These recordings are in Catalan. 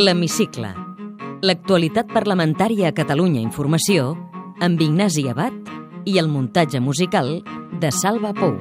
L'Hemicicle. L'actualitat parlamentària a Catalunya Informació amb Ignasi Abad i el muntatge musical de Salva Pou.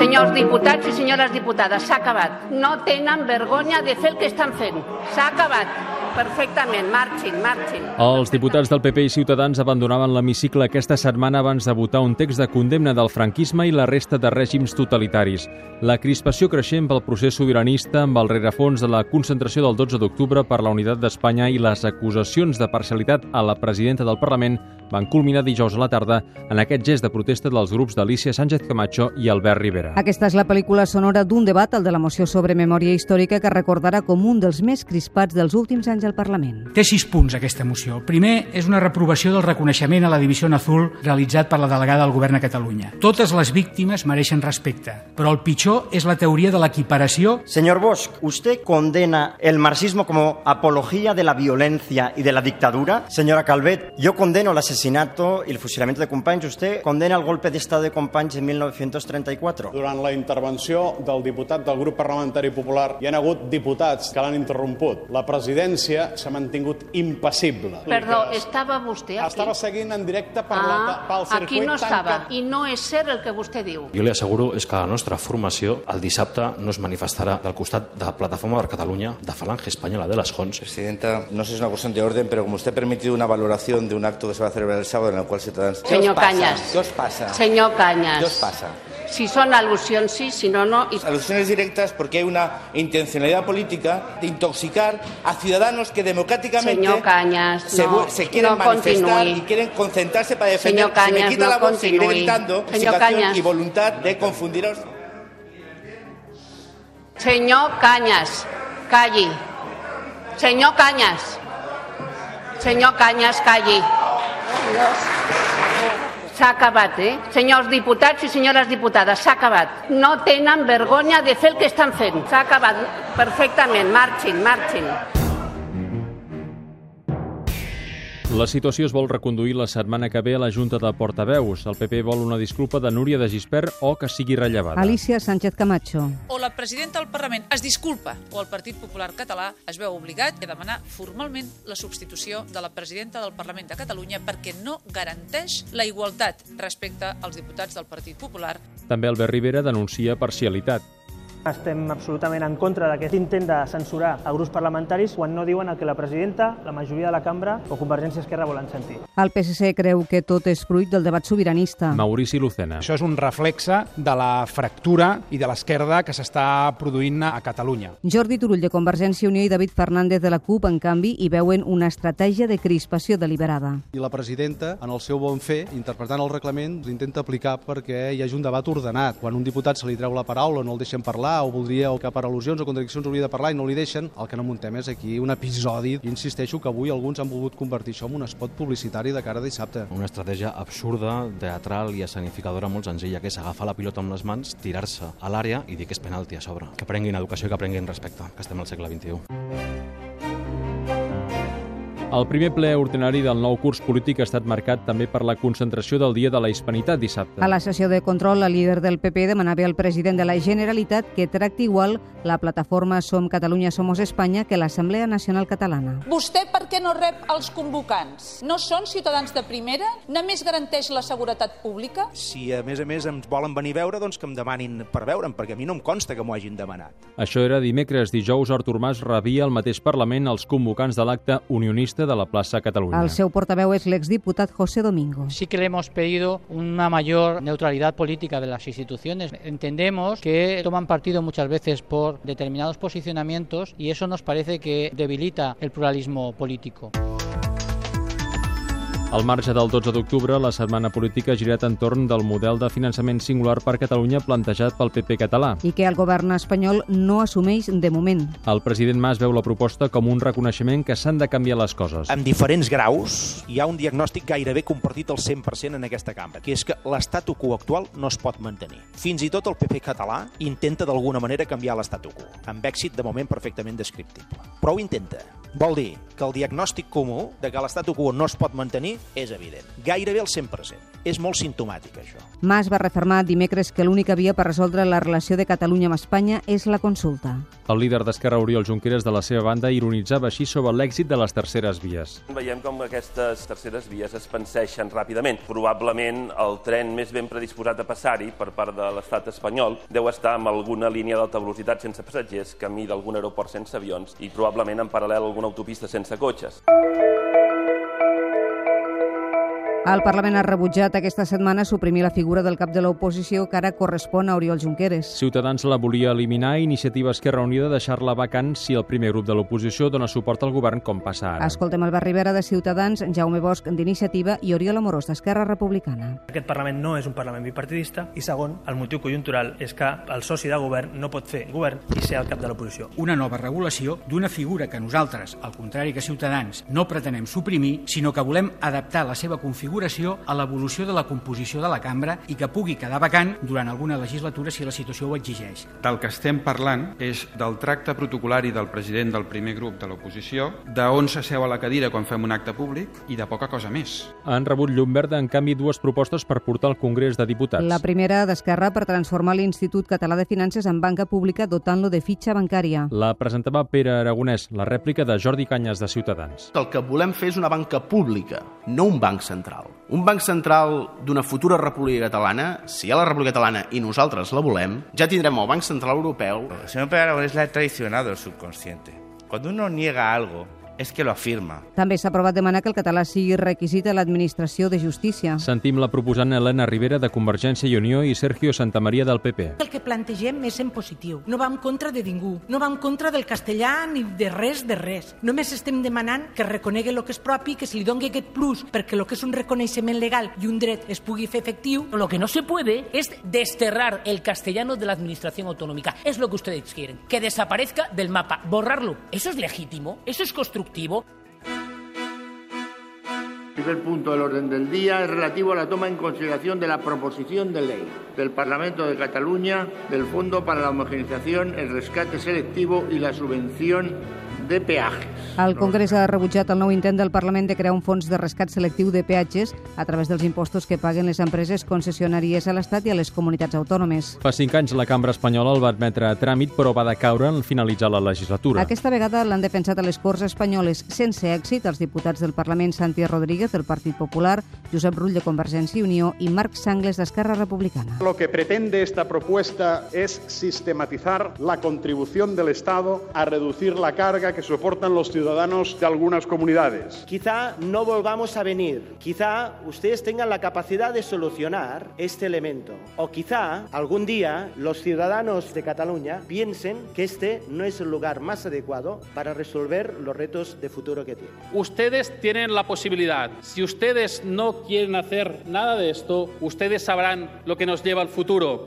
Senyors diputats i senyores diputades, s'ha acabat. No tenen vergonya de fer el que estan fent. S'ha acabat. Perfectament. Marxin, marxin. Els diputats del PP i Ciutadans abandonaven l'hemicicle aquesta setmana abans de votar un text de condemna del franquisme i la resta de règims totalitaris. La crispació creixent pel procés sobiranista amb el rerefons de la concentració del 12 d'octubre per la unitat d'Espanya i les acusacions de parcialitat a la presidenta del Parlament van culminar dijous a la tarda en aquest gest de protesta dels grups d'Alicia Sánchez Camacho i Albert Rivera. Aquesta és la pel·lícula sonora d'un debat, el de la moció sobre memòria històrica, que recordarà com un dels més crispats dels últims anys al Parlament. Té sis punts aquesta moció. El primer és una reprovació del reconeixement a la Divisió en Azul realitzat per la delegada del Govern a Catalunya. Totes les víctimes mereixen respecte, però el pitjor és la teoria de l'equiparació Señor Bosch, ¿usted condena el marxismo como apología de la violencia y de la dictadura? Señora Calvet, yo condeno el asesinato y el fusilamiento de Companys. ¿Usted condena el golpe de Estado de Companys en 1934? Durant la intervenció del diputat del grup parlamentari popular hi ha hagut diputats que l'han interromput. La presidència s'ha mantingut impassible. Perdó, estava vostè aquí? Estava seguint en directe per la, Ah, pel circuit aquí no estava. tancat. I no és cert el que vostè diu. Jo li asseguro és que la nostra formació el dissabte no es manifestarà del costat de la Plataforma per Catalunya, de Falange Espanyola de les Jons. Presidenta, no sé si es una cuestión de orden, pero como usted ha permitido una valoración de un acto que se va a celebrar el sábado en el cual Ciutadans... ¿Qué os Senyor pasa? Cañas. ¿Qué os pasa? Senyor Cañas. ¿Qué os pasa? Si són al·lusions, sí, si no, no. I... Alusiones directas porque hay una intencionalidad política de intoxicar a ciudadanos que democráticamente Señor Cañas, se, no, vu- se quieren no manifestar continúe. y quieren concentrarse para defender. Señor Cañas, se me quita no la voz, seguiré continúe. gritando, Señor situación Cañas. y voluntad de confundiros. Senyor Cañas, calli. Senyor Cañas. Senyor Cañas, calli. S'ha acabat, eh? Senyors diputats i senyores diputades, s'ha acabat. No tenen vergonya de fer el que estan fent. S'ha acabat perfectament. Marxin, marxin. La situació es vol reconduir la setmana que ve a la Junta de Portaveus. El PP vol una disculpa de Núria de Gispert o que sigui rellevada. Alicia Sánchez Camacho. o la presidenta del Parlament es disculpa o el Partit Popular Català es veu obligat a demanar formalment la substitució de la presidenta del Parlament de Catalunya perquè no garanteix la igualtat respecte als diputats del Partit Popular. També Albert Rivera denuncia parcialitat. Estem absolutament en contra d'aquest intent de censurar a grups parlamentaris quan no diuen el que la presidenta, la majoria de la cambra o Convergència Esquerra volen sentir. El PSC creu que tot és fruit del debat sobiranista. Maurici Lucena. Això és un reflexe de la fractura i de l'esquerda que s'està produint a Catalunya. Jordi Turull de Convergència i Unió i David Fernández de la CUP, en canvi, hi veuen una estratègia de crispació deliberada. I la presidenta, en el seu bon fer, interpretant el reglament, l'intenta aplicar perquè hi hagi un debat ordenat. Quan un diputat se li treu la paraula, no el deixen parlar, o voldria o que per al·lusions o contradiccions hauria de parlar i no li deixen, el que no muntem és aquí un episodi. Jo insisteixo que avui alguns han volgut convertir això en un espot publicitari de cara a dissabte. Una estratègia absurda, teatral i escenificadora molt senzilla, que és agafar la pilota amb les mans, tirar-se a l'àrea i dir que és penalti a sobre. Que prenguin educació i que prenguin respecte, que estem al segle XXI. El primer ple ordinari del nou curs polític ha estat marcat també per la concentració del Dia de la Hispanitat dissabte. A la sessió de control, el líder del PP demanava al president de la Generalitat que tracti igual la plataforma Som Catalunya Somos Espanya que l'Assemblea Nacional Catalana. Vostè per què no rep els convocants? No són ciutadans de primera? Només garanteix la seguretat pública? Si a més a més ens volen venir a veure, doncs que em demanin per veure'm, perquè a mi no em consta que m'ho hagin demanat. Això era dimecres. Dijous, Artur Mas rebia al mateix Parlament els convocants de l'acte unionista de la plaça Catalunya. El seu portaveu és l'exdiputat José Domingo. Sí que le hemos pedido una mayor neutralidad política de las instituciones. Entendemos que toman partido muchas veces por determinados posicionamientos y eso nos parece que debilita el pluralismo político. Al marge del 12 d'octubre, la setmana política ha girat entorn del model de finançament singular per Catalunya plantejat pel PP català. i que el govern espanyol no assumeix de moment. El president Mas veu la proposta com un reconeixement que s'han de canviar les coses. amb diferents graus, hi ha un diagnòstic gairebé compartit al 100% en aquesta cambra, que és que l'estatu quo actual no es pot mantenir. Fins i tot el PP català intenta d'alguna manera canviar l'estatu quo, amb èxit de moment perfectament descriptible. Però ho intenta. Vol dir que el diagnòstic comú de que l'estatu quo no es pot mantenir és evident, gairebé al 100%. És molt simptomàtic, això. Mas va refermar dimecres que l'única via per resoldre la relació de Catalunya amb Espanya és la consulta. El líder d'Esquerra, Oriol Junqueras, de la seva banda, ironitzava així sobre l'èxit de les terceres vies. Veiem com aquestes terceres vies es penseixen ràpidament. Probablement el tren més ben predisposat a passar-hi per part de l'estat espanyol deu estar amb alguna línia d'alta velocitat sense passatgers, camí d'algun aeroport sense avions i probablement en paral·lel alguna autopista sense cotxes. El Parlament ha rebutjat aquesta setmana suprimir la figura del cap de l'oposició que ara correspon a Oriol Junqueras. Ciutadans la volia eliminar i Iniciativa Esquerra Unida deixar-la vacant si el primer grup de l'oposició dona suport al govern com passa ara. Escoltem Albert Rivera de Ciutadans, Jaume Bosch d'Iniciativa i Oriol Amorós d'Esquerra Republicana. Aquest Parlament no és un Parlament bipartidista i segon, el motiu conjuntural és que el soci de govern no pot fer govern i ser el cap de l'oposició. Una nova regulació d'una figura que nosaltres, al contrari que Ciutadans, no pretenem suprimir, sinó que volem adaptar la seva configuració a l'evolució de la composició de la cambra i que pugui quedar vacant durant alguna legislatura si la situació ho exigeix. Del que estem parlant és del tracte protocolari del president del primer grup de l'oposició, de on s'asseu a la cadira quan fem un acte públic i de poca cosa més. Han rebut llum verda, en canvi, dues propostes per portar al Congrés de Diputats. La primera d'Esquerra per transformar l'Institut Català de Finances en banca pública dotant-lo de fitxa bancària. La presentava Pere Aragonès, la rèplica de Jordi Canyes de Ciutadans. El que volem fer és una banca pública, no un banc central. Un banc central d'una futura república catalana, si hi ha la república catalana i nosaltres la volem, ja tindrem el Banc Central Europeu. El señor Pérez Aragonés le ha traicionado el subconsciente. Cuando uno niega algo, es que lo afirma. També s'ha aprovat demanar que el català sigui requisit a l'administració de justícia. Sentim la proposant Helena Rivera de Convergència i Unió i Sergio Santamaria del PP. El que plantegem és en positiu. No va en contra de ningú. No va en contra del castellà ni de res de res. Només estem demanant que es reconegui el que és propi, que se li doni aquest plus perquè el que és un reconeixement legal i un dret es pugui fer efectiu. Lo que no se puede es desterrar el castellano de la administración autonómica. Es lo que ustedes quieren. Que desaparezca del mapa. Borrarlo. Eso es legítimo. Eso es constructivo. El primer punto del orden del día es relativo a la toma en consideración de la proposición de ley del Parlamento de Cataluña del Fondo para la Homogenización, el Rescate Selectivo y la Subvención de peatges. El Congrés ha rebutjat el nou intent del Parlament de crear un fons de rescat selectiu de peatges a través dels impostos que paguen les empreses concessionàries a l'Estat i a les comunitats autònomes. Fa cinc anys la cambra espanyola el va admetre a tràmit, però va decaure en finalitzar la legislatura. Aquesta vegada l'han defensat a les Corts espanyoles sense èxit els diputats del Parlament Santi Rodríguez del Partit Popular, Josep Rull de Convergència i Unió i Marc Sangles d'Esquerra Republicana. Lo que pretende esta propuesta es sistematizar la contribución del Estado a reducir la carga que soportan los ciudadanos de algunas comunidades. Quizá no volvamos a venir, quizá ustedes tengan la capacidad de solucionar este elemento o quizá algún día los ciudadanos de Cataluña piensen que este no es el lugar más adecuado para resolver los retos de futuro que tienen. Ustedes tienen la posibilidad, si ustedes no quieren hacer nada de esto, ustedes sabrán lo que nos lleva al futuro.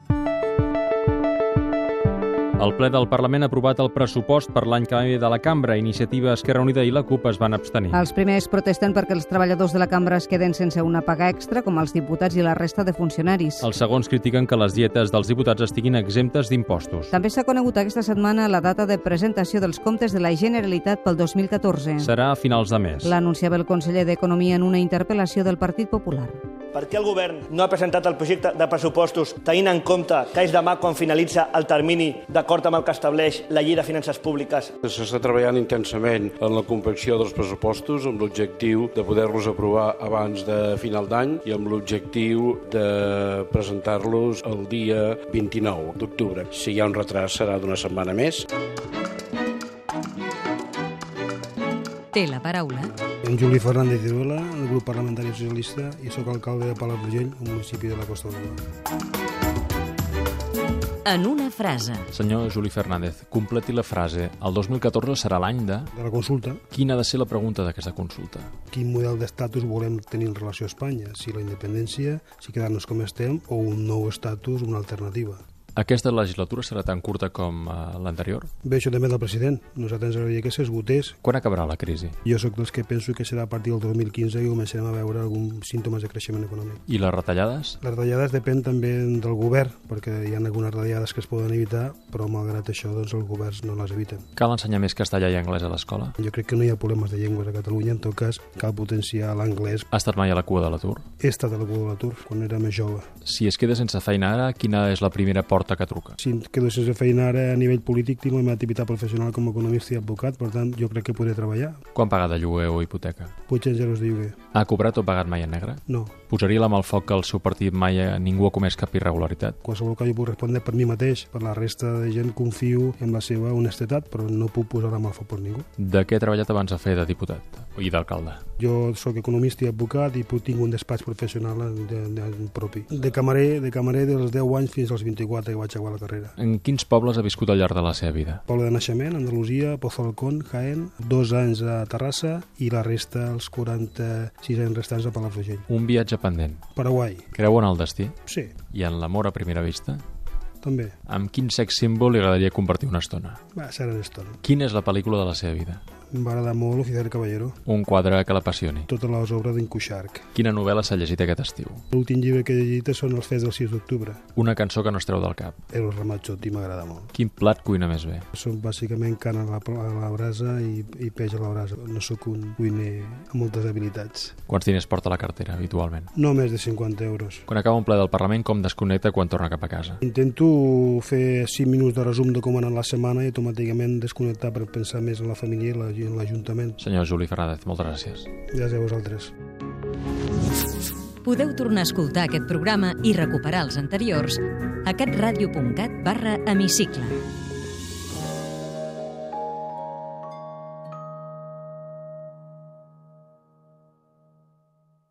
El ple del Parlament ha aprovat el pressupost per l'any que ve de la cambra. Iniciativa Esquerra Unida i la CUP es van abstenir. Els primers protesten perquè els treballadors de la cambra es queden sense una paga extra, com els diputats i la resta de funcionaris. Els segons critiquen que les dietes dels diputats estiguin exemptes d'impostos. També s'ha conegut aquesta setmana la data de presentació dels comptes de la Generalitat pel 2014. Serà a finals de mes. L'anunciava el conseller d'Economia en una interpel·lació del Partit Popular. Per què el govern no ha presentat el projecte de pressupostos tenint en compte que és demà quan finalitza el termini d'acord amb el que estableix la llei de finances públiques? S'està treballant intensament en la confecció dels pressupostos amb l'objectiu de poder-los aprovar abans de final d'any i amb l'objectiu de presentar-los el dia 29 d'octubre. Si hi ha un retras serà d'una setmana més. Té la paraula en Juli Fernández de Vela, del grup parlamentari socialista, i sóc alcalde de Palafrugell, un municipi de la Costa d'Olva. En una frase. Senyor Juli Fernández, completi la frase. El 2014 serà l'any de... De la consulta. Quina ha de ser la pregunta d'aquesta consulta? Quin model d'estatus volem tenir en relació a Espanya? Si la independència, si quedar-nos com estem, o un nou estatus, una alternativa. Aquesta legislatura serà tan curta com eh, l'anterior? Bé, això també del president. Nosaltres ens agradaria que s'esgotés. Quan acabarà la crisi? Jo sóc dels que penso que serà a partir del 2015 que començarem a veure alguns símptomes de creixement econòmic. I les retallades? Les retallades depèn també del govern, perquè hi ha algunes retallades que es poden evitar, però malgrat això doncs, els governs no les eviten. Cal ensenyar més castellà i anglès a l'escola? Jo crec que no hi ha problemes de llengües a Catalunya, en tot cas cal potenciar l'anglès. Has estat mai a la cua de l'atur? He estat a la cua de l'atur quan era més jove. Si es queda sense feina ara, quina és la primera porta que truca? Si em quedo sense feina ara a nivell polític, tinc la meva activitat professional com a economista i advocat, per tant jo crec que podré treballar. Quan paga de lloguer o hipoteca? 800 euros de lloguer. Ha cobrat o pagat mai en negre? No. Posaria la mà al foc que el seu partit mai eh, ningú ha comès cap irregularitat? Qualsevol que jo puc respondre per mi mateix, per la resta de gent confio en la seva honestetat, però no puc posar la mà al foc per ningú. De què ha treballat abans de fer de diputat i d'alcalde? Jo sóc economista i advocat i puc- tinc un despatx professional de, de, propi. De camarer, de camarer dels 10 anys fins als 24 que vaig acabar la carrera. En quins pobles ha viscut al llarg de la seva vida? Poble de naixement, Andalusia, Pozalcón, Jaén, dos anys a Terrassa i la resta, els 46 anys restants a Palafrugell. Un viatge pendent. Paraguai, Creu en el destí? Sí. I en l'amor a primera vista? també. Amb quin sex símbol li agradaria compartir una estona? Va, Sharon Stone. Quina és la pel·lícula de la seva vida? M'agrada molt Oficial Caballero. Un quadre que l'apassioni. Totes les obres d'en Cuixart. Quina novel·la s'ha llegit aquest estiu? L'últim llibre que he llegit són els fets del 6 d'octubre. Una cançó que no es treu del cap. Eros Ramazzotti m'agrada molt. Quin plat cuina més bé? Són bàsicament carn a la, a la brasa i, i peix a la brasa. No sóc un cuiner amb moltes habilitats. Quants diners porta a la cartera, habitualment? No més de 50 euros. Quan acaba un ple del Parlament, com desconnecta quan torna cap a casa? Intento fer 5 minuts de resum de com ha anat la setmana i automàticament desconnectar per pensar més en la família i la- i en l'Ajuntament. Senyor Juli Fernández, moltes gràcies. Gràcies a vosaltres. Podeu tornar a escoltar aquest programa i recuperar els anteriors a catradio.cat barra hemicicle.